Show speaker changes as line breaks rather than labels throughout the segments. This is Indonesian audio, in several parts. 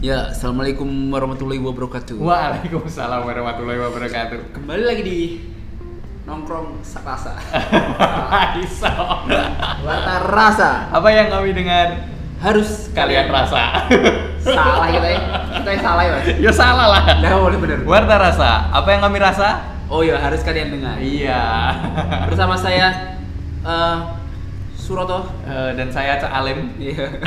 Ya, assalamualaikum warahmatullahi wabarakatuh.
Waalaikumsalam warahmatullahi wabarakatuh.
Kembali lagi di nongkrong serasa,
Aiso.
rata rasa
Apa yang kami dengar
harus
kalian rasa?
salah kita ya, kita yang salah ya. Mas?
ya salah lah.
Nah, boleh bener.
Warta rasa. Apa yang kami rasa?
Oh iya, harus kalian dengar.
Iya.
Bersama saya eh, Suroto.
Eh, Dan saya Cak Alim.
Iya.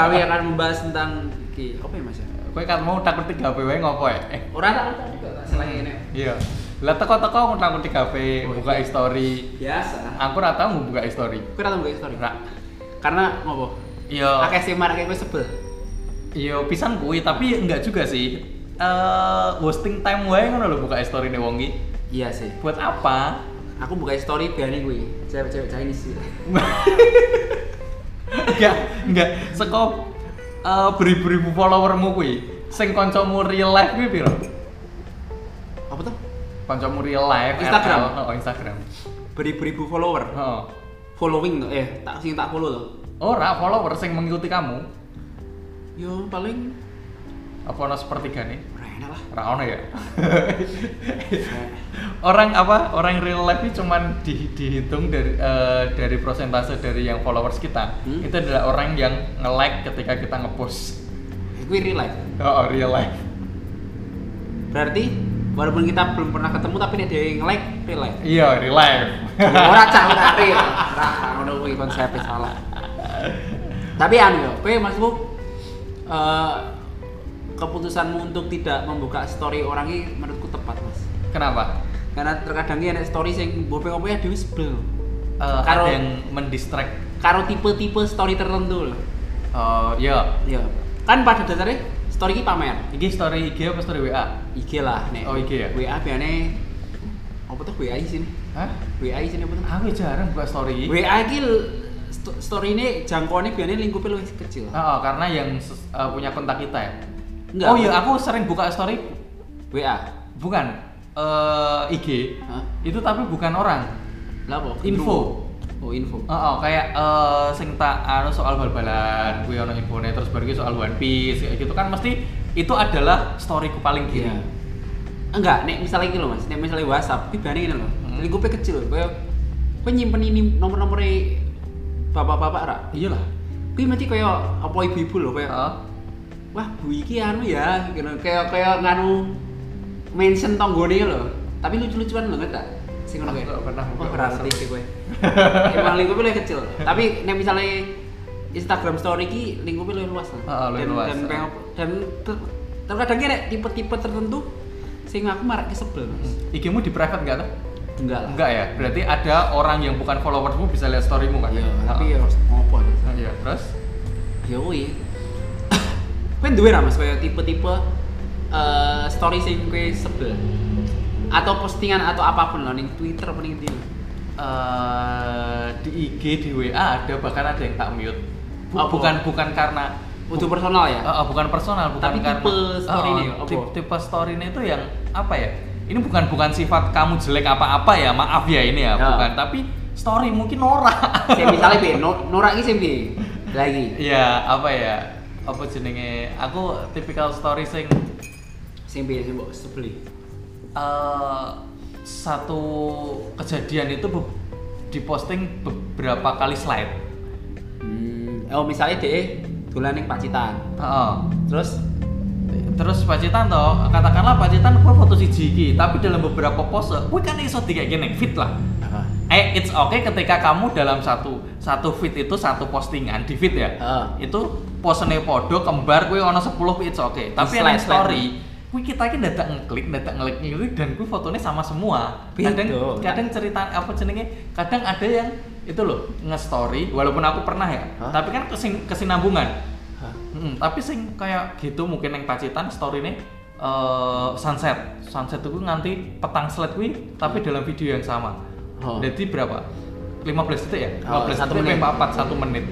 Kami akan membahas tentang Ki, apa ya Mas ya?
Kowe kan mau takut tiga HP wae ngopo ya? Eh,
Orang tak tahu juga Mas, salah ini.
Iya. Lah teko-teko ngutang tiga HP,
Oh,
buka
iya.
story.
Biasa.
Aku ora tau buka story.
Kau tahu nggak story?
Ra.
Karena ngopo?
Iya.
Akeh sing marake kowe sebel.
Yo Iya, pisan kuwi tapi enggak juga sih. Eh wasting time wae ngono lho buka story ne wong iki.
Iya sih.
Buat apa?
aku buka story biarin gue cewek-cewek Chinese sih
enggak, enggak. Seko eh beribu-ribu followermu kuwi. Sing kancamu real life kuwi piro?
apa tuh
Kancamu real life
Instagram.
RL. Oh, Instagram.
beribu-ribu follower
Heeh.
following tuh eh tak sing tak follow tuh
Ora follower sing mengikuti kamu.
yo paling
Apa ono sepertigane?
ora enak lah Eh,
Ora ono ya. orang apa? Orang real life ini cuman di- dihitung dari eh, dari prosentase dari yang followers kita.
Hmm.
Itu adalah orang yang nge-like ketika kita nge-post.
gue real life
Oh, oh, real life.
berarti walaupun kita belum pernah ketemu tapi dia yang like real life
Iya, real life.
ora cah ora real ora ngono kuwi konsepnya salah tapi anu yo pe maksudku eh, keputusanmu untuk tidak membuka story orang ini menurutku tepat mas
Kenapa?
karena terkadang ini ada story yang bope-bope ya dewe sebel
Eh,
Karo-
ada yang mendistract.
karo tipe-tipe story tertentu loh.
Oh, iya.
Ya. Kan pada dasarnya story ini pamer.
Ini story IG apa story WA?
IG lah nek.
Oh, IG ya?
WA biasanya apa tuh WA sini?
Hah?
WA sini apa tuh?
Aku jarang buka story.
WA ini sto- story ini jangkauannya biasanya lingkupnya lebih kecil.
Oh, oh, karena yang ses- eh, punya kontak kita ya.
Enggak.
Oh iya, aku sering buka story
WA.
bukan eh, IG.
Hah?
Itu tapi bukan orang.
Lah apa?
Info.
Oh, info.
Oh, oh, kayak eh sing tak anu soal bal-balan, kuwi ono infone terus baru kuwi soal One Piece kayak gitu kan mesti itu adalah storyku paling kiri.
Iya. Enggak, nek misalnya gitu loh Mas. Nek misalnya WhatsApp, ini biasanya gini loh.
Hmm.
Lingkupnya kecil. Kayak kowe nyimpen ini nomor-nomornya bapak-bapak ra.
Iyalah. Ah.
Kuwi mesti kayak apa ibu-ibu loh kayak
Heeh.
wah bu iki anu ya gitu kayak kayak nganu mention tonggone lho tapi lucu-lucuan banget tak sing ngono
Aku
kayak
nggak pernah
oh
buka
ora ngerti sih kowe emang lingkup lebih kecil tapi nek misalnya Instagram story ki lingkupnya lebih luas
Heeh,
lah
lebih
dan
luas.
dan kayak- dan ter- terkadang ki nek tipe-tipe tertentu sing aku marak kesebel Mas.
IG-mu di private enggak tuh?
enggak lah
Enggak ya. Berarti ada orang yang bukan followersmu bisa lihat storymu kan?
iya
Heeh.
tapi ya harus ngopo ya.
Nah, iya, terus
ya kuwi kowe duwe ra Mas kaya tipe-tipe eh story sing kowe sebel atau postingan atau apapun lah ning Twitter apa ning ndi lho.
eh di IG di WA ada bahkan ada yang tak mute. Bu-
Apa?
bukan bukan karena
untuk personal ya
Oh, oh, bukan personal, bukan
Tapi tipe
karena
story-nya
Oh,
ya, apa?
tip- tipe story-nya itu yang apa ya? Ini bukan bukan sifat kamu jelek apa-apa ya, maaf ya ini ya,
Ya.
bukan. Tapi story mungkin norak.
saya misalnya be no, norak iki sing piye lagi
Iya, apa ya? Apa jenenge? Aku tipikal story sing
sing piye sing mbok sebeli
eh, satu kejadian itu be- diposting beberapa kali slide.
hmm. oh misalnya dhek dolan ning Pacitan
Heeh.
terus
Terus pacitan toh, katakanlah pacitan kue foto siji iki, tapi dalam beberapa pose, kue kan iso tiga gini, fit lah. Eh, it's okay ketika kamu dalam satu satu feed itu satu postingan di feed ya.
Heeh.
Itu posene podo kembar kuwi ono 10 kuwi it's okay.
slide,
Tapi yang story kuwi kita ki dadak ngeklik, dadak ngeklik ngeklik dan kuwi fotonya sama semua.
Beda.
Kadang kadang cerita apa jenenge? Kadang ada yang itu loh nge-story walaupun aku pernah ya.
Hah?
Tapi kan kesin- kesinambungan.
Hah?
Mm, tapi sing kayak gitu mungkin yang pacitan story ini sunset sunset itu nganti petang slide kuwi tapi dalam video yang sama
Hmm. Oh.
jadi berapa 15 detik ya 15
Oh,
detik
satu
sampai
menit.
empat satu menit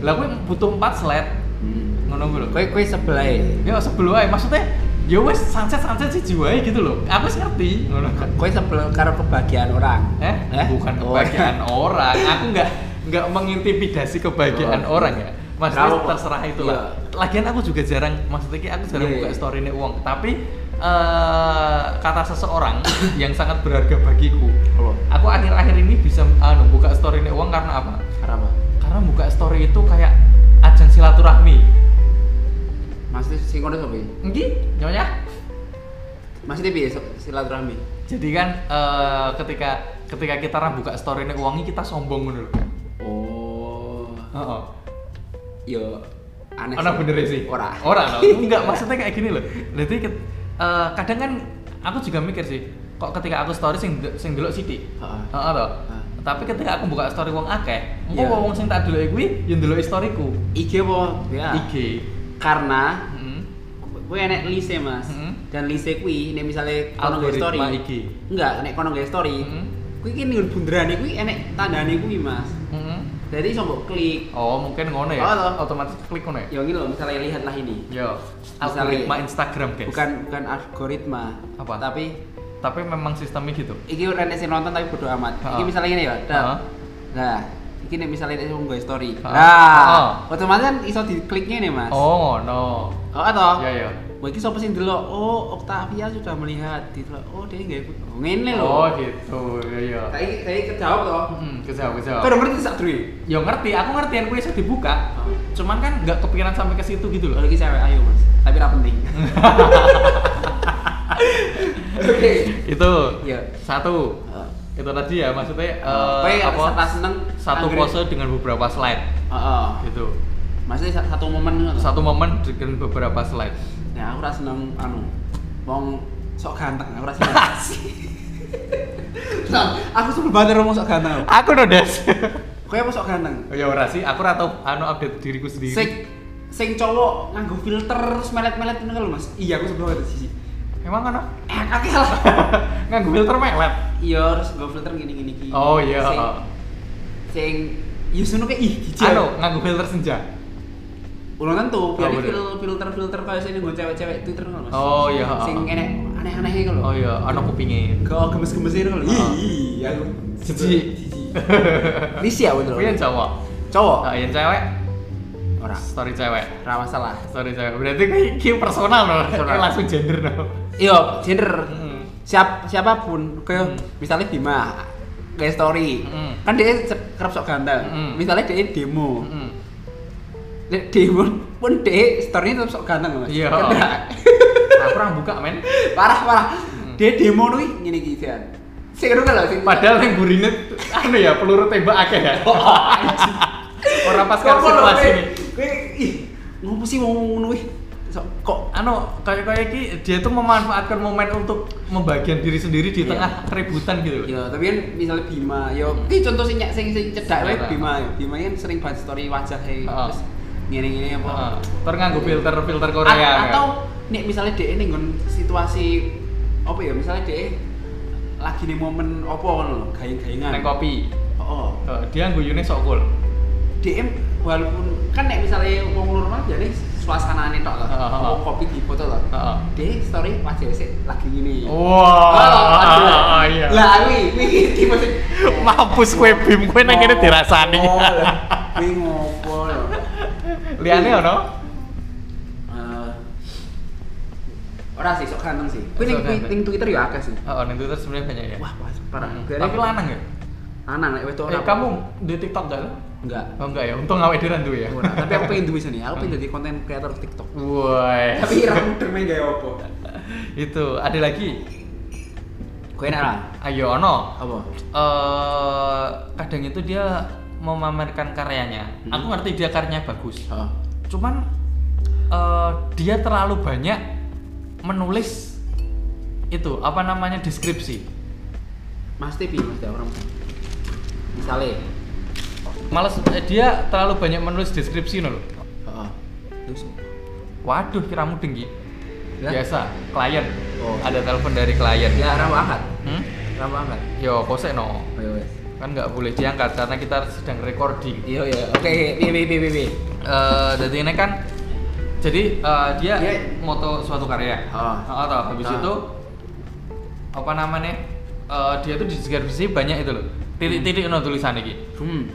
lah kuwi butuh 4 slide
hmm.
ngono kuwi lho
kowe kowe sebel ae
ya sebelum ae maksudnya ya wes sunset sunset sih jiwae gitu loh aku sih ngerti ngono kan.
kowe sebel karo kebahagiaan orang
eh
Eh?
bukan
Oh.
kebahagiaan orang aku nggak nggak mengintimidasi kebahagiaan
Oh.
orang ya maksudnya
Nggak apa-apa.
terserah itu lah lagian aku juga jarang maksudnya ki aku jarang
Iya,
buka
iya.
story ini uang tapi eh, kata seseorang yang sangat berharga bagiku
Apa?
aku akhir-akhir ini bisa anu buka story ini uang karena apa
Karena iya. apa?
karena buka story itu kayak ajang silaturahmi
Maksudnya sing kono sapa iki?
enggih nyonya
Maksudnya piye so- silaturahmi?
jadi kan eh, ketika ketika kita orang buka story ini uangnya kita sombong dulu kan
Oh.
Heeh.
Yo aneh.
Ana bener sih.
Nah, Ora.
Oh. Ora no. Enggak, maksudnya kayak gini loh. Jadi ket- eh, kadang kan aku juga mikir sih, kok ketika aku story sing sing delok sithik.
Heeh.
Heeh toh.
Heeh.
Tapi ketika aku buka story wong akeh, engko
Iya.
wong sing tak deloki kuwi yo ndelok storyku.
IG apa? Ya.
IG.
Karena
Heeh.
gue enek lise mas
Mm.
dan lise kui nek misalnya kono nge story
Algoritma IG.
enggak nek kono nge story
Mm.
kui kan nih bunderane kui enek tandane kui mas
Heeh.
jadi sombong klik
Hmm. Oh, mungkin ngono ya.
Oh, toh.
Otomatis klik ngono ya.
ya ini loh misalnya lihatlah ini
Yo,
Misalnya- iya.
algoritma Instagram, guys.
bukan bukan algoritma
Apa?
tapi
Tapi memang sistemnya gitu.
iki ora nek sing nonton tapi bodo amat
Ha.
iki misalnya ini ya dap.
Ha.
nah iki nek misalnya nek nge story
Ha.
nah
Ha.
otomatis kan iso dikliknya nih mas
Oh, no.
oh atau
Ya, ya.
Wah, iki sapa sing delok? Oh, Octavia sudah melihat. Delok, oh, dia nggak ikut. Oh, ngene lho.
Oh, gitu. Ya, ya.
Saya saya kejawab toh.
Heeh, kejauh, kejauh.
Kau udah ngerti sak duwe?
Ya ngerti, aku ngerti yang kuisnya dibuka. Cuman kan nggak kepikiran sampai ke situ gitu loh.
Kalau lagi cewek ayo mas, tapi ra penting. Oke.
Itu
Iya.
satu. Itu tadi ya maksudnya
Kowe
eh,
apa? ya,
apa?
seneng
Satu
anggrek. Oh.
pose dengan beberapa slide
Heeh.
gitu.
Maksudnya sa- satu momen ngono.
Satu momen dengan beberapa slide.
Nah, aku ra seneng anu. Wong sok ganteng, aku ra seneng. Nah, aku sebel banget ngomong sok ganteng.
Aku nodes.
Kowe apa sok ganteng?
ya ora sih, aku ora tau anu update diriku sendiri.
Sing sing cowok nganggo filter terus melet-melet ngono lho, Mas. Iya, aku sebel banget di sisi.
Emang kan
Eh, kakek lah.
nganggo filter melet.
Iya, harus gue filter gini-gini gini.
Oh iya.
Sing, sing Yusuno kayak ih, hijau.
Anu, Oh, nganggo filter senja.
Belum tentu, biar
bener.
fil- filter-filter kayak sini gue cewek-cewek Twitter kan, Mas.
Oh, iya.
Sing enek aneh-aneh gitu loh.
Oh iya, anu kupingnya.
Kau gemes-gemesin kan.
Oh.
Iya, aku
Jijik.
Lisi ya bener.
Kuwi yang cowok.
Cowok.
Nah, yang cewek
Ora.
story cewek.
Ora masalah.
Sorry saya, berarti kayak kayak personal no,
Personal.
Kayak langsung gender no.
Iya, gender.
Mm.
Siap siapapun, kayak
Hmm.
misalnya Bima, kayak story.
Hmm.
Kan dia se- kerap sok ganteng.
Hmm.
Misalnya dia demo.
Mm.
Nek demo pun dia story tetap sok ganteng Mas.
Iya.
Kena.
Nah, kurang buka men.
parah parah dia demo nih gini gini kan sing ngono lho sing
Hmm. Padahal yang burine anu ya peluru tembak akeh ya. Orang pas kan
Ngopo lho,
situasi
kowe-
ini.
kowe, ih ngopo sih wong ngono ih Sok- kok
Anu, kayak kayak ki dia tuh memanfaatkan momen untuk membagian diri sendiri di
Iya.
tengah keributan gitu loh.
ya tapi kan misalnya Bima yo iki contoh sing sing sing cedak wae
Hmm. Iya,
Bima yo Bima kan sering banget story wajah e
Heeh.
terus ngene-ngene apa
Heeh. Ah. Terus nganggo filter filter Korea.
A-
kan.
atau nek misalnya dia nih nggon situasi apa ya misalnya dia lagi nih momen apa ngono lho gayeng-gayengan
neng kopi.
oh
Eh, Dia ngguyune sok cool.
DM walaupun kan nek misalnya wong normal jadi suasanane tok lah.
Heeh, heeh.
Mau kopi di foto lah.
Heeh.
Dia story wajah sih lagi gini.
Iya. Oh. Wah, iya.
Lah kuwi kuwi tipe sing
Mampus kue bim kue nang kene dirasani.
Oh, lah. Kuwi ngopo lho.
Liane ono?
Eh, Ora sih sok ganteng sih. Kuwi
Sok
ning kuwi
ganteng.
ning Twitter ya agak sih.
Oh, ning Twitter sebenarnya banyak ya.
Wah, pas- parah.
Hmm.
Gara-gara-
Tapi lanang ya?
Lanang lek wedok
Eh,
ora.
kamu di TikTok gak? lah?
enggak.
Oh enggak Hmm. ya, untung awet dhewe duwe ya.
Ora, nah, tapi aku pengen duwe sini. Aku pengen jadi konten creator TikTok.
Woi.
Tapi ora mudeng main gawe opo.
Itu, ada lagi.
Kowe enak lah.
Ayo ono.
Apa?
Eh, kadang itu dia memamerkan karyanya.
Hmm.
Aku ngerti dia karyanya bagus.
Heeh.
Cuman eh, dia terlalu banyak menulis itu apa namanya deskripsi.
Mas Tipi, Mas Tipi orang Mas. Misalnya,
Males eh, dia terlalu banyak menulis deskripsi no loh.
heeh. Terus
Waduh, kiramu dengki.
Ya?
Biasa, klien.
Oh.
Ada telepon dari klien.
ya ramu angkat,
Hmm?
ramu angkat.
Yo, kosek
Ayo Oh,
no.
iya, wes.
Kan nggak boleh diangkat karena kita sedang recording.
Iya iya. Oke, bi bi bi bi bi.
Eh, jadi ini kan jadi eh, dia
Iya.
moto suatu karya.
Ah.
Ah, toh, habis
Ah.
itu apa namanya? eh, dia tuh di deskripsi banyak itu loh. Titik-titik no tulisan iki.
Hmm.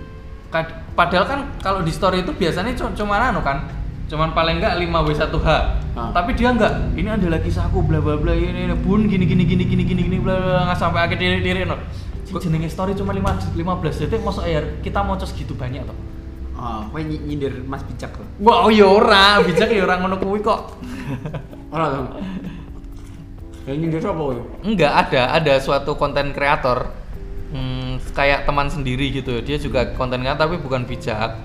Kad- padahal kan kalau di story itu biasanya cu- cuma anu kan cuman paling enggak 5 W1H
Ah.
tapi dia enggak ini adalah kisahku bla bla bla ini, ini bun gini gini gini gini gini gini bla bla bla, nggak sampai akhir diri diri no jenenge story cuma 5 15 detik masuk air kita mau segitu banyak toh
Oh, kowe nyi- nyindir Mas Bijak loh.
Wah, wow, ya ora, bijak ya ora ngono kuwi kok.
Ora to. Ya nyindir apa kowe?
Enggak ada, ada suatu konten kreator hmm, kayak teman sendiri gitu. Dia juga konten kreator tapi bukan bijak.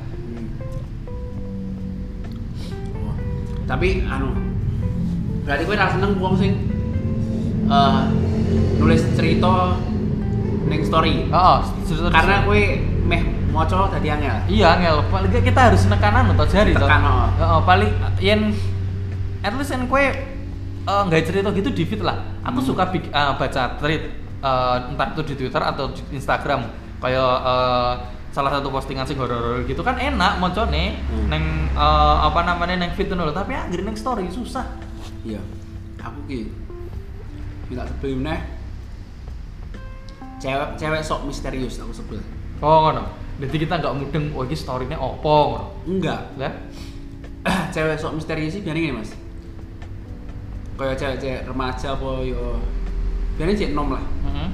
Oh. Tapi anu berarti kowe ra seneng wong sing eh, nulis cerita ning story.
Oh, oh
Karena kowe meh maca dadi angel.
Iya, ngel. Paling nggak kita harus nekanan atau jari toh.
Tekan, oh.
Heeh, paling yen at least yen kue eh, nggak cerita gitu di feed lah. Aku
Hmm.
suka bik- eh, baca thread eh, entah itu di Twitter atau di Instagram. Kayak eh, salah satu postingan sing horor gitu kan enak moncone
Hmm.
neng eh, apa namanya neng feed dulu tapi akhir neng story susah.
Iya. Aku ki minta sebel meneh. Cewek cewek sok misterius aku sebel.
Oh ngono. Jadi kita nggak mudeng, oh ini story-nya opo ngono.
Enggak,
Lah,
cewek sok misterius sih biar ini mas kayak cewek-cewek remaja apa yo biar ini cek nom lah
heeh,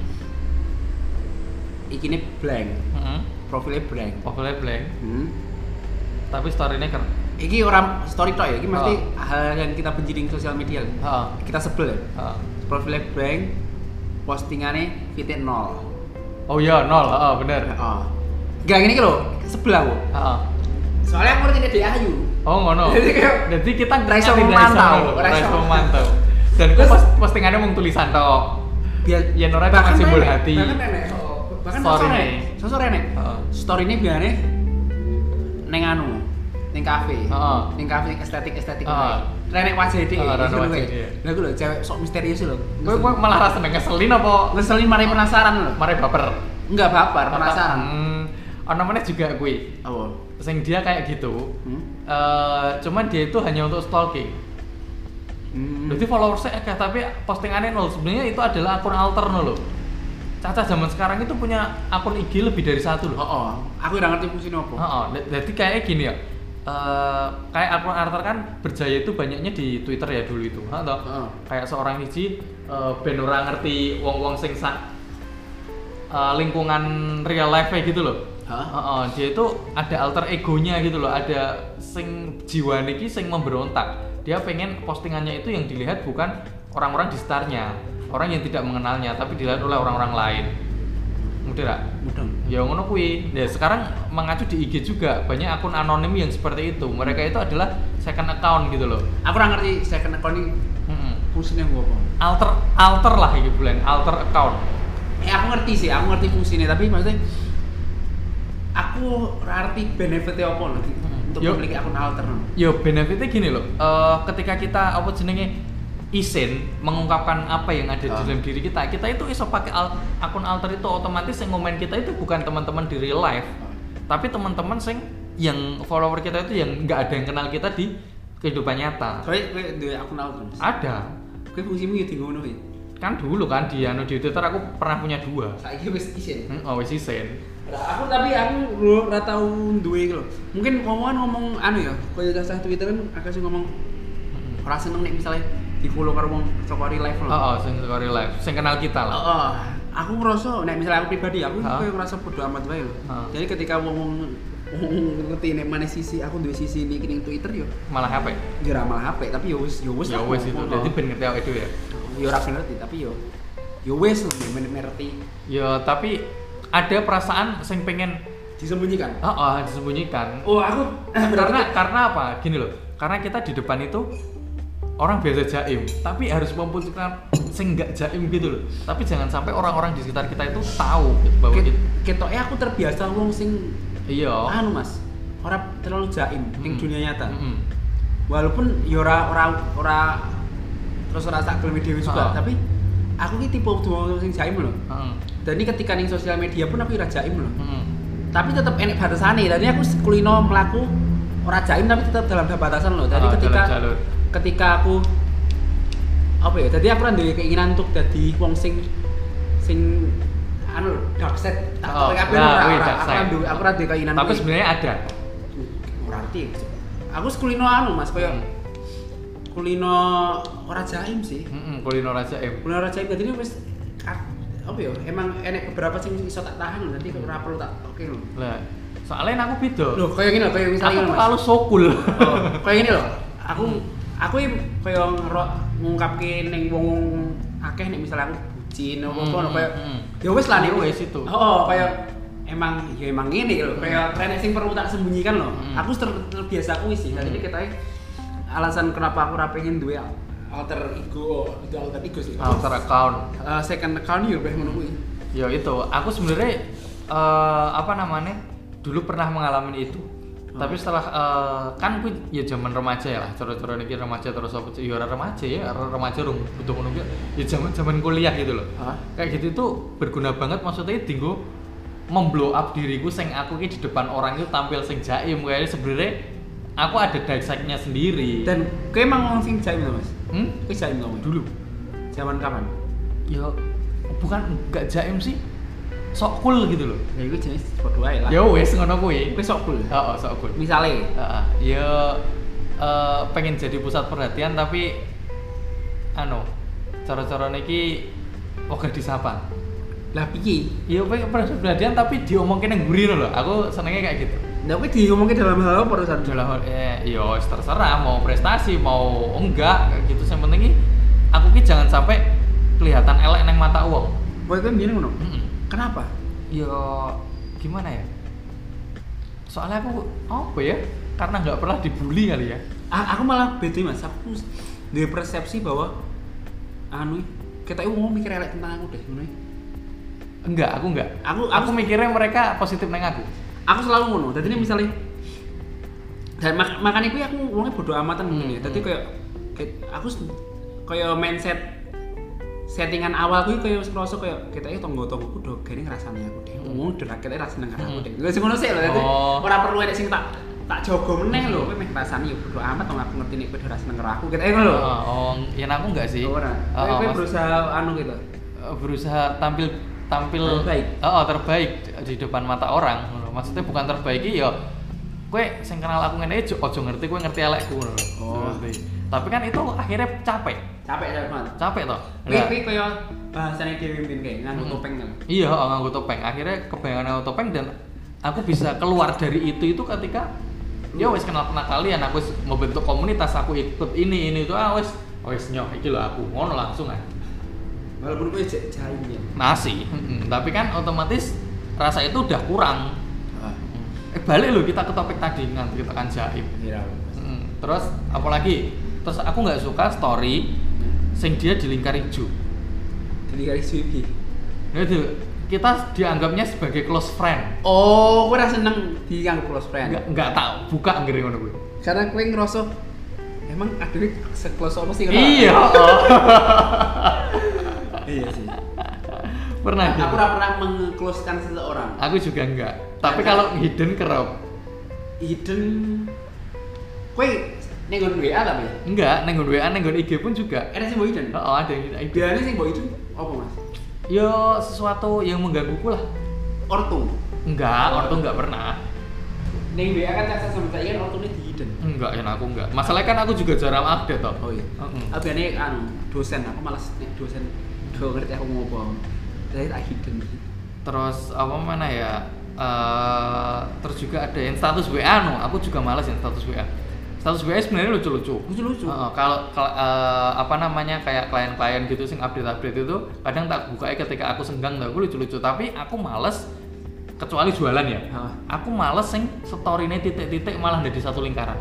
iki ini blank
heeh.
profilnya blank
Pokoknya Hmm. blank,
hmm.
tapi story-nya keren.
iki orang story toh ya iki mesti
Oh.
hal yang kita benci di sosial media lah.
Heeh.
kita sebel ya
heeh.
profilnya blank postingannya fit nol
Oh iya, nol, heeh, bener.
oh. gak gini loh sebel aku
Heeh.
soalnya aku ngerti dia ayu
Oh ngono.
Jadi kayak
Jadi kita
ra iso memantau, ra iso
raiso memantau. Dan
Terus-
gue pas postingannya mung tulisan tok.
biar
Yen ora
Bahkan
cuma simbol
nenek,
hati.
bahkan nenek oh, bahkan
Story
sosok
nih.
nenek sosok nenek
Heeh.
story ini biar neng anu neng kafe
Heeh.
neng kafe estetik estetik
Heeh.
nenek wajah dia
Heeh, nenek
disuruh
Oh. wajah
kayak.
dia.
nah gue loh cewek sok misterius loh
Gue gue malah rasa seneng ngeselin apa
ngeselin mari penasaran loh
mare baper.
enggak baper penasaran
Hmm, oh namanya juga gue.
oh
Sing dia kayak gitu.
hmm?
Eh, cuman dia itu hanya untuk stalking.
Hmm.
Berarti followersnya akeh tapi postingannya nol. Sebenarnya itu adalah akun alterno loh. Caca zaman sekarang itu punya akun IG lebih dari satu loh.
oh, oh. aku udah ngerti fungsinya apa
Oh, jadi kayaknya gini ya. eh, kayak akun Arthur kan berjaya itu banyaknya di Twitter ya dulu itu. Ha, toh?
Heeh.
Kayak seorang hiji eh ben ora ngerti wong-wong sing sak eh, lingkungan real life gitu loh.
Hah?
Heeh, dia itu ada alter egonya gitu loh, ada sing jiwa niki sing memberontak. Dia pengen postingannya itu yang dilihat bukan orang-orang di sekitarnya, orang yang tidak mengenalnya, tapi dilihat oleh orang-orang lain. Mudah nggak?
mudeng
ya ngono kuwi. Ya sekarang mengacu di IG juga banyak akun anonim yang seperti itu. Mereka itu adalah second account gitu loh.
aku udah ngerti saya kena kau ini
Mm-mm.
fungsinya gue apa
Alter alter lah iki bulan, alter account.
eh aku ngerti sih aku ngerti fungsinya tapi maksudnya aku arti benefitnya apa nanti untuk
Yo.
memiliki akun alternat
Yo Ya, benefitnya gini loh. Eh, ketika kita apa jenenge isin mengungkapkan apa yang ada di
Ah.
dalam diri kita, kita itu iso pakai al- akun alter itu otomatis yang ngomen kita itu bukan teman-teman di real life, tapi teman-teman sing yang follower kita itu yang nggak ada yang kenal kita di kehidupan nyata.
Soalnya gue duwe akun alternat
Ah? Ada,
Gue fungsimu ya di ngono ya
kan dulu kan di anu di Twitter aku pernah punya dua
Saiki wis isin
hmm, oh wis isin
Lah, Aku tapi aku lu ora tau duwe iki lho Mungkin ngomongan ngomong anu ya Kaya cacah Twitter kan akeh sing ngomong
Heeh.
Ora seneng nek misalnya di follow karo wong saka real life lho
oh oh sing story live sing kenal kita lah
Heeh. Aku ngerasa, nek misalnya aku pribadi, aku
Hah?
kayak ngerasa bodo amat wae lho.
Hah.
Jadi ketika wong wong ngerti nek mana sisi aku duwe sisi ini ning Twitter yo,
malah HP
yo ora malah HP, tapi yo wis yo wis
ya
lah
wis itu
ngomong,
jadi
lho.
ben ngerti awake dhewe ya
yo ora ngerti tapi yo yo wis lho men ngerti
ya tapi ada perasaan sing pengen
disembunyikan.
oh, oh disembunyikan
Oh, aku
karena karena apa gini loh karena kita di depan itu orang biasa jaim tapi harus membutuhkan sing nggak jaim gitu loh tapi jangan sampai orang-orang di sekitar kita itu tahu gitu, bahwa
Ket-
kita-
ketoknya aku terbiasa wong sing
iya Hmm.
anu Mas, ora terlalu jaim ning
Mm-mm.
dunia nyata.
Mm-mm.
Walaupun ya ora ora ora terus ora tak gelem dhewe juga,
Ah.
tapi aku ki tipe wong sing jaim lho.
Heeh.
Dan ini ketika ning sosial media pun aku ora jaim lho.
Heeh.
Tapi tetap enek batasane. Dan ini aku kulino mlaku ora jaim tapi tetap dalam batasan lho. Jadi
Ah,
ketika
jalur-jalur.
ketika aku apa ya? Jadi aku ora duwe keinginan untuk jadi wong sing sing anu dark set tak tahu
Oh,
kabeh
nah,
ora
kuwi
ora
dark
aku
side.
ra duwe aku ra duwe keinginan
Tapi
kuwi.
sebenarnya ada.
ora ngerti aku sekulino anu Mas koyo
Hmm.
kulino ora jaim sih
Heeh, kulino raja M.
kulino ora jaim jadi wis ka- apa ya emang enek beberapa sing iso tak tahan nanti ora perlu tak oke lho
Lah, soalnya aku beda.
lho koyo ngene lho, koyo
Aku
misalnya ngene, Mas.
terlalu sokul.
Oh, kayak gini loh aku aku yang kayak ngero- ngungkapke ning wong akeh nek misalnya aku bucin apa apa
Hmm,
kayak
hmm.
ya wis lah nek
Ya wis itu.
oh kayak emang ya emang ini loh kayak renek sing perlu tak sembunyikan loh
Hmm.
aku ter- terbiasa kuwi sih
Hmm.
jadi kita alasan kenapa aku ra pengen duwe alter ego itu alter ego sih
Alter Ah, account.
Eh, second account ya beh menunggu
Ya itu, aku sebenarnya eh, apa namanya? Dulu pernah mengalami itu.
Hmm.
Tapi setelah eh, kan gue ya zaman remaja ya lah, cara-cara ini remaja terus apa sih? ya orang remaja ya, orang remaja rung butuh ngono kuwi. Ya zaman-zaman kuliah gitu loh.
Hah?
Kayak gitu itu berguna banget maksudnya dinggo memblow up diriku sing aku ki di depan orang itu tampil sing jaim kayaknya sebenarnya aku ada dark side-nya sendiri.
dan kayak emang ngomong sing jaim loh mas
Hmm?
kayak jaim loh
Dulu
zaman kapan
ya bukan nggak jaim sih sok cool gitu loh
ya itu jenis bodoh aja lah
ya wes ngono kuwi
Kowe sok cool.
oh, sok cool
misalnya
Heeh. ya eh, pengen jadi pusat perhatian tapi anu cara-cara niki oke disapa
lah piye
ya pengen pusat perhatian tapi diomongin yang gurih loh aku senengnya kayak gitu
Nah, kowe diomongke dalam hal apa urusan
Udah lah, eh, ya wes terserah mau prestasi mau enggak kayak gitu yang penting ki, aku ki jangan sampai kelihatan elek neng mata uang
Kowe kowe mbiyen ngono.
Mm-mm.
Kenapa?
ya gimana ya soalnya aku apa ya karena nggak pernah dibully kali ya
A- aku malah bete Mas. Aku duwe persepsi bahwa anu kita mau mikir elek tentang aku deh ngono. ya.
enggak aku enggak
Aku-
aku
aku-
mikirnya mereka positif neng aku
Aku selalu ngono. Dadi ini misalnya dan mak makanya kuwi aku wongnya bodoh amatan mungkin ya. Dadi
Hmm.
koyo kayak- aku s- koyo mindset settingan awal kuwi koyo ngerasa koyo kita iki tonggo-tonggoku do gene ngrasani aku deh.
Hmm.
Ngomong drak kita rasane nang aku
Hmm.
deh. Wis ngono sik lho. dadi
Oh.
Ora perlu enek sing tak tak jaga meneh lho. Kowe meh ngrasani yo bodo amat to aku ngerti nek kowe do rasane karo aku. Kita ngono lho.
oh, oh, ya aku enggak sih
Ora. Kowe
Oh, oh,
kowe
mas-
berusaha anu gitu.
eh, berusaha tampil tampil
Terbaik.
oh, oh, terbaik di depan mata orang maksudnya bukan terbaik iki ya kue sing kenal aku ngene aja ojo ngerti kue ngerti elekku ngono lho.
Oh.
Ngerti. tapi kan itu akhirnya capek
Capek capek banget.
capek toh
Kowe
Nah,
kowe koyo bahasane dhewe mimpin kae nganggo topeng kan.
Iya, oh, nganggo topeng. Akhirnya kebayangan nganggo topeng dan aku bisa keluar dari itu itu ketika ya wes kenal kenal kalian, aku wis membentuk komunitas, aku ikut ini ini itu ah wes wes nyoh iki lho aku ngono langsung aja.
Walaupun kowe jek jaim ya.
Masih, mm-mm. tapi kan otomatis rasa itu udah kurang. Eh balik loh kita ke topik tadi kan kita kan jaim.
Iya.
Mm, Terus apalagi terus aku nggak suka story sing dia di lingkar hijau.
Jadi kali suwi.
Nah, Itu kita dianggapnya sebagai close friend.
Oh, kowe ra seneng dianggo close friend.
Nggak nggak tahu buka ngeri ngono gue.
Karena kowe ngerasa emang aduh se-close apa sih kenal?
Iya.
Iya sih.
pernah gitu.
Aku ra pernah mengclosekan seseorang.
Aku juga enggak. Tapi kalau hidden kerap.
Hidden kowe ning nggon WA tapi
Enggak, neng nggon WA, neng nggon IG pun juga.
ada sih mbok hidden.
Oh, ada yang hidden.
Biasanya sih mbok hidden apa Mas?
Yo, sesuatu yang menggangguku lah.
Ortu.
Enggak, ortu enggak pernah.
Ning WA kan caksa sama saya kan ortune di hidden.
Enggak, ya aku enggak. Masalahnya kan aku juga jarang update toh.
Oh iya.
Heeh.
Aku biasanya anu dosen aku malas nek dosen do ngerti aku ngopo. Jadi tak hidden.
Terus apa mana ya? Eh, terus juga ada yang status WA no. Aku juga malas yang status WA. Status WA sebenarnya lucu-lucu.
Lucu-lucu.
Heeh, kalau kal- eh, apa namanya kayak klien-klien gitu sing update-update itu kadang tak buka ketika aku senggang tak aku lucu-lucu tapi aku males kecuali jualan ya.
Hah.
Aku males sing storynya titik-titik malah jadi satu lingkaran.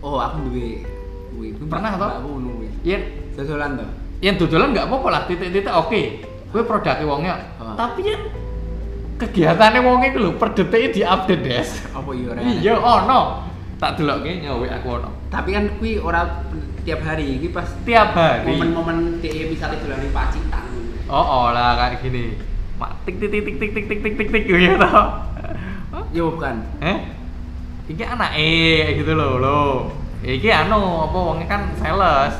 Oh, aku duwe kuwi.
Pernah, toh?
Aku ngono kuwi.
Yen
Dodolan to.
yen dodolan nggak apa-apa lah titik-titik oke. Gue produknya wongnya.
Hah.
Tapi yen kegiatannya wongnya itu lho per detiknya di-update des.
Apa iya ora?
Iya oh, ono. Tak delokke nyawe aku ono.
Tapi kan kuwi ora tiap hari iki pas
Tiap hari.
momen-momen DE misalnya dolan ning Pacitan.
Oh, oh lah kayak gini. Mak tik tik tik tik tik tik tik tik tik gitu toh.
Yo Iya, bukan.
Eh? Iki anak eh gitu loh lo. Iki anu apa wongnya kan sales.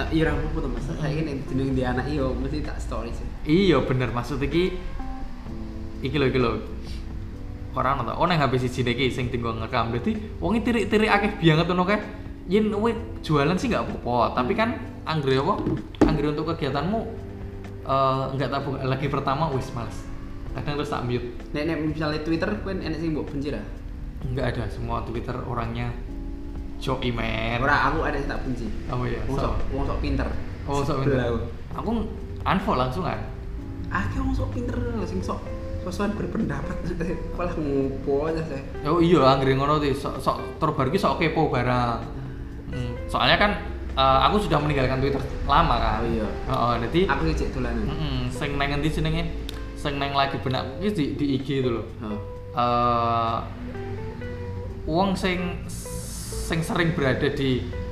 Nah, iya ora apa-apa to Mas. Saiki nek jeneng di anak yo mesti tak iya, story sih.
Iya bener maksud iki iki lho iki lho orang nonton oh neng HP siji nih sing tinggal ngerekam berarti wongi tirik-tirik akeh banget ngono kae yen kowe jualan sih nggak apa-apa tapi kan anggere apa anggere untuk kegiatanmu eh, nggak tabung lagi pertama wis males kadang terus tak mute
Nek nek misalnya Twitter kan enek sing mbok benci ra.
nggak ada semua Twitter orangnya joki men
Ora aku ada sing tak benci.
oh iya
Wong
so,
sok wong sok pinter.
oh so
Sebel aku.
aku unfollow langsung kan
Akeh wong sok Ah, pinter sing sok sosokan berpendapat. Malah ngopo aja saya.
Oh iya anggere ngono tuh sok sok terbaru ki sok kepo barang. Hmm, soalnya kan eh, aku sudah meninggalkan Twitter lama
Oh
kan.
iya.
Heeh, jadi
Aku iki cek dolanan.
heeh, sing nang ngendi jenenge? Sing nang lagi benakku ki di, di IG itu loh.
Heeh.
Eh wong sing sing sering berada di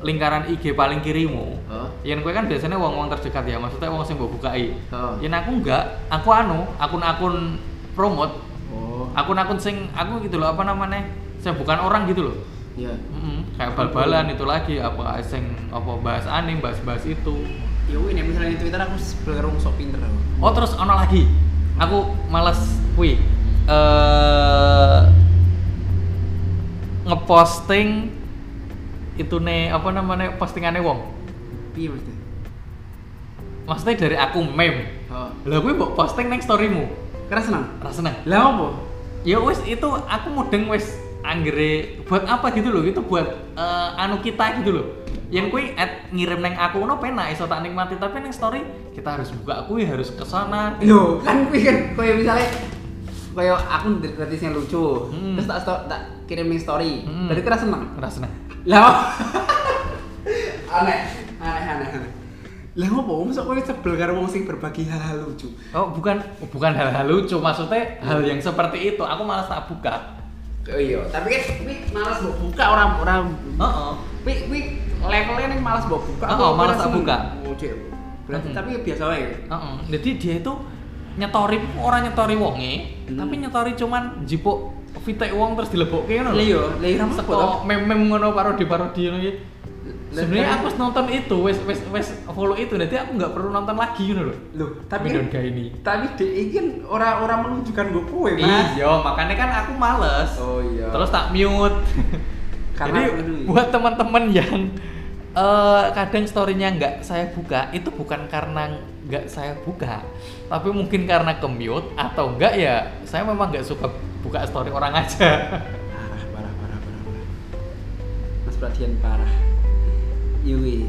lingkaran IG paling kirimu.
Heeh.
Yen kowe kan biasanya wong-wong terdekat ya, maksudnya wong sing mbok bukai.
Heeh.
Yen aku enggak, aku anu, akun-akun promote
Oh.
akun-akun sing aku gitu loh apa namanya saya bukan orang gitu loh
Iya.
Mm-mm, kayak bal-balan itu lagi apa sing apa bahas anime bahas-bahas itu
Ya kuwi nek misalnya di Twitter aku sebel karo wong sok pinter aku.
oh terus ono lagi aku males kui eh ngeposting itu nih apa namanya postingannya wong
Piye mesti?
maksudnya dari aku meme
Heeh.
lah gue mbok posting neng storymu
Keras senang.
rasa seneng
Lah opo?
ya wes itu aku mudeng wes anggere buat apa gitu loh itu buat eh, anu kita gitu loh yang kui at ngirim neng aku no penak iso tak nikmati tapi neng story kita harus buka kui harus kesana
Lho, kan kuwi kan koyo misalnya koyo aku ndelok gratis yang lucu.
Hmm.
Terus tak sto- tak kirim ning story.
Hmm.
Berarti keras senang.
ngerasa nah
Lah. aneh, aneh, aneh, aneh. Lah ngopo mosok kowe sebel karo wong sing berbagi hal-hal lucu.
oh bukan bukan hal-hal lucu maksudnya hal yang seperti itu aku malas tak buka
Oh iya, tapi kan kuwi males mbok buka orang-orang.
oh, oh.
Kuwi kuwi levelnya ning males mbok buka.
Oh,
kok ora
males tak
seneng.
buka.
Oh, cek. Berarti
Mm-mm.
tapi ya biasa wae.
Heeh. Jadi dia itu nyetori orang nyetori wonge,
Hmm.
tapi nyetori cuman jipuk vitek wong terus dilebokke ngono
Lah iya, lah iya, kenapa kok?
Seko meme-meme ngono parodi-parodi ngono iki. Sebenarnya aku wis nonton itu, wes wes wes follow itu, nanti aku nggak perlu nonton lagi ngono lho.
Loh, tapi kan
Midon guy ini.
tapi dek iki kan ora-ora menunjukkan gue kowe, Mas.
Iya, makanya kan aku males.
Oh iya.
Terus tak mute.
Karena
Jadi
aku dulu.
buat teman-teman yang eh, kadang storynya nggak saya buka, itu bukan karena nggak saya buka, tapi mungkin karena ke mute atau enggak ya saya memang nggak suka buka story orang aja.
parah, parah, parah, parah. parah. Mas Pradian parah. Yui.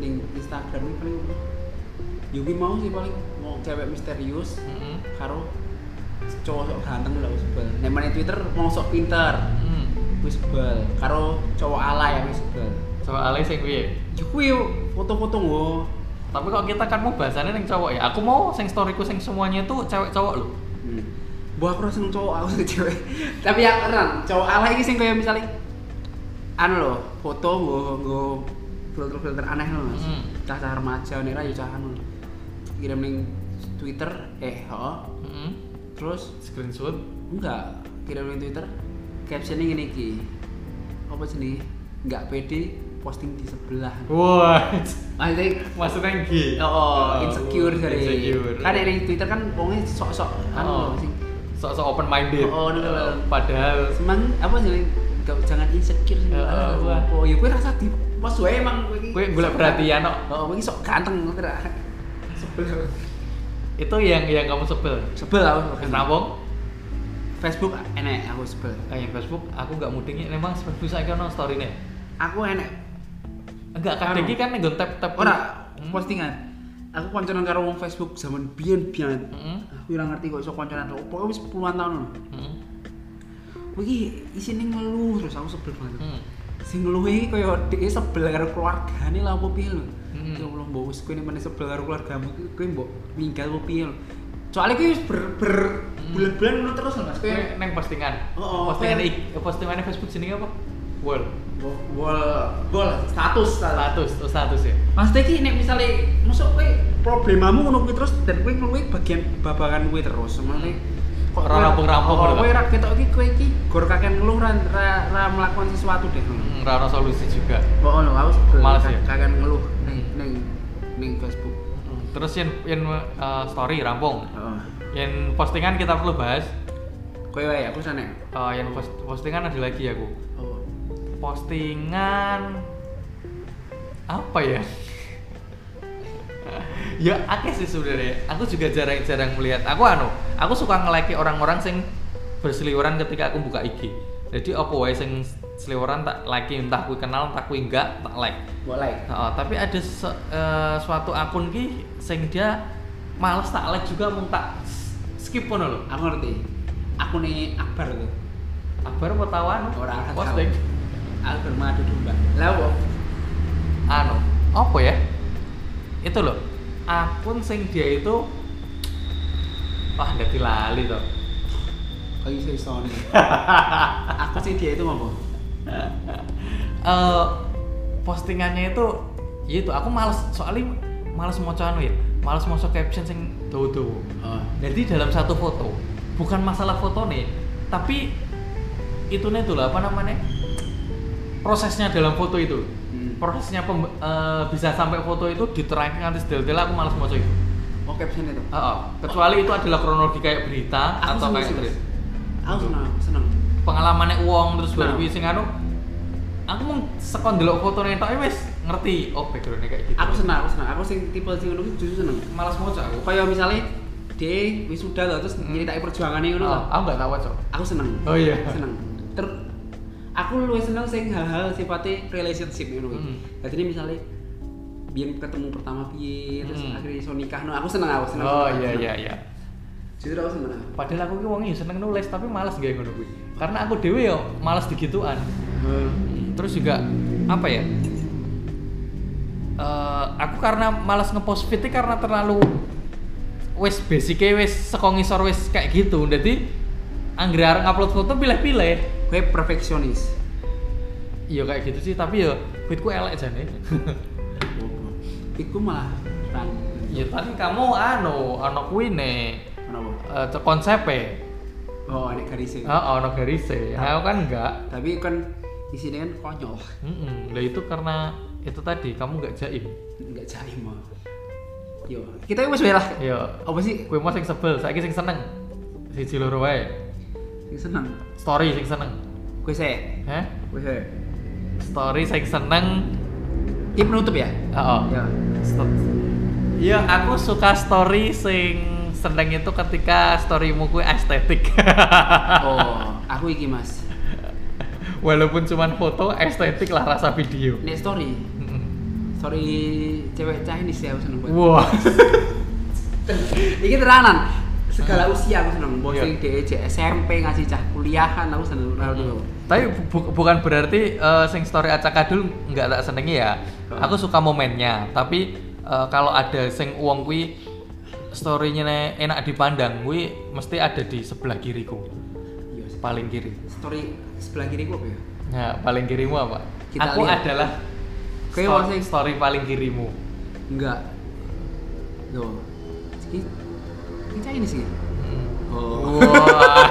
Ning Instagram ini paling Yui mau sih paling mau cewek misterius
Mm-mm.
karo cowok sok ganteng lah wis sebel. Nek meneh Twitter mau sok pinter,
Mm.
wis sebel. Karo cowok alay ya wis sebel.
Soal Alex yang piye?
Ya kuwi foto-foto nggo.
Tapi kalau kita kan mau bahasannya yang cowok ya. Aku mau sing storyku sing semuanya itu cewek cowok loh.
Hmm. Buah aku rasanya cowok aku sih cewek. Tapi yang keren, cowok alay iki sing kaya misalnya anu loh, foto nggo nggo filter-filter aneh loh Mas.
Hmm.
Cah-cah remaja nek ra yo cah anu. Kirim ning Twitter eh ho.
Mm-mm.
Terus
Screenshot.
enggak kirim ning Twitter captionnya ngene iki. Apa jenenge? Enggak pede posting di sebelah.
Oh. Wah.
Maksudnya
Maksudnya yang gay.
Oh, insecure dari.
Insecure.
Kan dari Twitter kan wongnya sok-sok
Oh.
anu loh, sing
sok-sok open minded.
Oh, bener, bener.
Eh, padahal
Semang apa sih? Gak- jangan insecure sih.
Heeh, wah.
oh, ya gue rasa di pas gue emang gue
gue golek perhatian kok.
Oh, gue sok ganteng ngerti ra. Sebel.
Itu yang yang kamu sebel.
Sebel aku.
Kenapa?
Facebook enek aku sebel.
Kayak eh, Facebook, aku nggak mudengnya memang Facebook saya kan story nih.
Aku enek
Enggak,
Anu.
kadang iki kan gue tap tap.
ora
Hmm.
postingan. Aku konconan karo wong Facebook zaman biyen-biyen.
Mm-mm.
Aku ora ngerti kok iso konconan. Pokoknya wis puluhan tahun. lho.
Mm-mm.
Kuwi iki isine ngeluh terus aku sebel banget.
Mm.
sing luwe iki kaya dhek sebel karo keluargane lah opo piye lho.
Hmm.
Ya Allah mbok wis kowe nek meneh sebel karo keluargamu ku- kowe mbok ninggal opo piye lho. Soale kuwi wis ber, ber bulan-bulan ngono terus lho Mas. Kowe
Gue neng postingan.
Oh, oh,
postingan
kayak-
ik- postingannya Facebook jenenge apa? Wall.
Wo- wall wall status status.
Status, oh, status ya.
Mas iki nek misale mosok kowe problemamu ngono kuwi terus dan kowe ngeluwe bagian babagan kowe terus. Maksudnya
Ora
kowe-
rampung-rampung
Oh,
lho, Pak.
Kowe ra ketok iki kowe iki gor kakek ngeluh ra ra- ra melakukan sesuatu deh. ngono.
Hmm, Rano solusi juga.
Bohong lho aku sebel
Males ya?
kak- kakek ngeluh ning
Hmm.
ning ning Facebook.
Terus yang yang eh, story rampung.
Heeh.
yang postingan kita perlu bahas
Kowe wae aku sana.
Eh, yang post- postingan ada lagi aku
Oh.
postingan apa ya ya akeh sih sebenarnya aku juga jarang-jarang melihat aku anu aku suka nge-like orang-orang sing berseliweran ketika aku buka IG jadi apa wae sing seliweran tak like entah aku kenal entah aku enggak tak like
Boleh.
Nah, tapi ada se- eh, suatu akun ki sing dia males tak like juga mung tak s- skip ngono lho
Aku ngerti. Aku nih Akbar tuh.
Akbar mau tahu anu
Orang orang
posting
Akbar madu domba. Lah apa?
anu apa ya itu loh akun sing dia itu wah jadi lali toh
Kau iso isone. Aku sih dia itu apa?
eh postingannya itu ya itu aku males soalnya males mau anu ya males mau caption sing dodo
Oh.
jadi dalam satu foto bukan masalah foto nih tapi itunya itu lah apa namanya prosesnya dalam foto itu
Hmm.
prosesnya pembe- eh, bisa sampai foto itu diterangkan nanti detail-detail aku males mau itu
Oh caption itu.
Oh, oh. kecuali itu adalah kronologi kayak berita
Aku
atau
seneng
kayak
sih, Mas.
tulis.
Aku seneng, aku seneng.
pengalamannya uang terus baru
Nah.
kuwi sing anu aku mau sekon delok fotone tok "Eh, wis ngerti oh backgroundnya kayak gitu
Aku seneng, aku seneng. Aku sing tipe sing ngono kuwi justru seneng.
malas moco aku
Kayak misalnya dia wisuda loh, terus
Hmm.
nyeritain perjuangannya ngono
oh,
loh.
aku nggak tahu cok
Aku seneng.
oh iya
seneng ter aku luwih seneng sing hal-hal sifatnya relationship ngono kuwi.
Hmm.
Dadi ini misalnya biyen ketemu pertama piye terus
Hmm.
akhirnya iso nikah no aku seneng aku seneng.
oh
aku
iya
seneng.
iya iya
Jujur aku seneng.
padahal aku ki wonge seneng nulis tapi malas gak ngono kuwi karena aku dewe yo malas digituan terus juga apa ya Eh, aku karena malas ngepost fit karena terlalu wis basicnya wis sekong ngisor wis kayak gitu jadi anggere arep ngupload foto pilih-pilih
Gue perfeksionis.
Iya kayak gitu sih, tapi ya fitku elek jane. Oh, iya.
Iku malah ran.
ya tapi kamu anu ana kuwi ne
Kenapa?
eh, ce- konsepe.
Oh, ada garisnya.
Heeh, ana garise. Nah, aku kan enggak.
Tapi kan isinya kan konyol.
Heeh. Lah itu karena itu tadi kamu enggak jaim.
Enggak cari mah. Yo, kita wis wae lah.
Ya,
Apa sih?
kowe mau sing sebel, saiki sing seneng. Siji loro wae.
Sing seneng.
Story sing seneng.
Gue se.
Hah?
Gue se.
Story sing seneng.
Ini penutup ya?
Heeh.
Ya.
Sto- Iya, aku suka story sing seneng itu ketika storymu kuwi estetik.
Oh, aku iki Mas.
Walaupun cuman foto, estetik lah rasa video.
Nek story, story cewek Chinese ya aku seneng banget.
Wah.
Iki teranan segala usia aku seneng. Bos
Iya.
sing DE cek SMP ngasih cah kuliahan aku seneng ora dulu.
Tapi bu- bukan berarti eh, sing story acak adul nggak tak senengi ya. Aku suka momennya, tapi eh, kalau ada sing uang kui storynya ne- enak dipandang, kui mesti ada di sebelah kiriku,
Iya. sih.
paling kiri.
Story sebelah kiri ku apa ya?
Nah, paling kirimu apa?
Kita
aku
lihat.
adalah
Kayak
sto-
wong sing-
story paling kirimu.
Enggak. Loh. Iki iki Chinese iki. Oh.
Wah.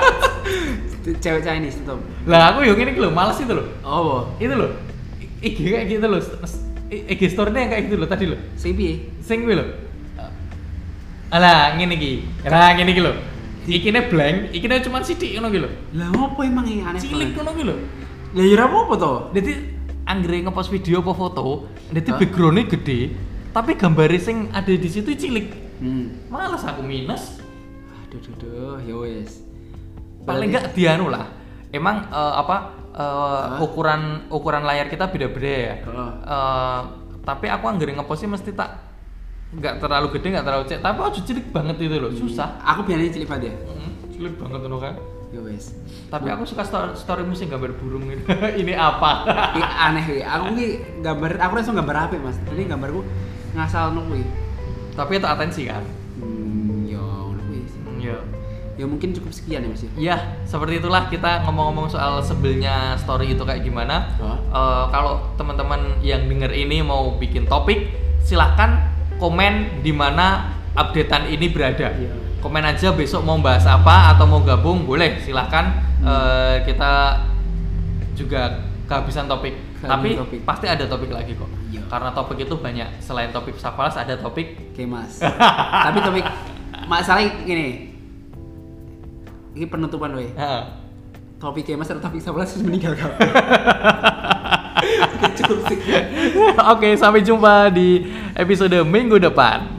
Cewek Chinese tetep.
lah aku yang ini loh, males itu loh.
Oh, apa?
itu loh I- IG kayak gitu loh S- s- I- IG store-nya yang kayak gitu loh tadi loh
sing piye?
sing gue loh
Ah.
alah ngene iki
Kan.
nah ngene iki loh ikine blank ikine cuma sithik ngono iki loh
Lah opo emang yang aneh?
cilik
banget?
ngono iki loh
Lah ya ora apa-apa to.
jadi anggere ngepost video apa foto jadi
Hah?
backgroundnya gede tapi gambarnya sing ada di situ cilik
Hmm.
males aku minus
Aduh, duh, duh, ya wis.
paling enggak dianu lah emang eh, apa eh,
Hah?
ukuran ukuran layar kita beda-beda ya
Heeh.
Eh, tapi aku anggere ngepostnya mesti tak nggak terlalu gede nggak terlalu cek tapi aku cilik banget itu loh susah
Aku biasanya cilik banget ya.
Hmm, cilik banget loh kan
Ya wis.
tapi aku suka story, story musik gambar burung gitu. ini ini apa
Ih, aneh kuwi. Aku ki gambar aku langsung gambar apa, Mas? Jadi gambarku ngasalno kuwi.
tapi itu atensi kan
Hmm, ya ngono kuwi. sih.
Hmm, ya
Ya mungkin cukup sekian ya, Mas ya.
Iya, seperti itulah kita ngomong-ngomong soal sebelnya story itu kayak gimana.
Hah?
Eh, kalau teman-teman yang denger ini mau bikin topik, silahkan komen di mana updatean ini berada.
Iya.
Komen aja besok mau bahas apa atau mau gabung boleh, silahkan
Hmm.
Eh, kita juga kehabisan topik.
Kehabisan
Tapi
topik.
pasti ada topik lagi kok.
Iya.
Karena topik itu banyak. Selain topik Safalas ada topik
Oke, Mas. Tapi topik masalah gini. ini penutupan weh
Heeh.
topik kemas atau topik sebelas sudah meninggal kau cukup sih
Oke, sampai jumpa di episode minggu depan.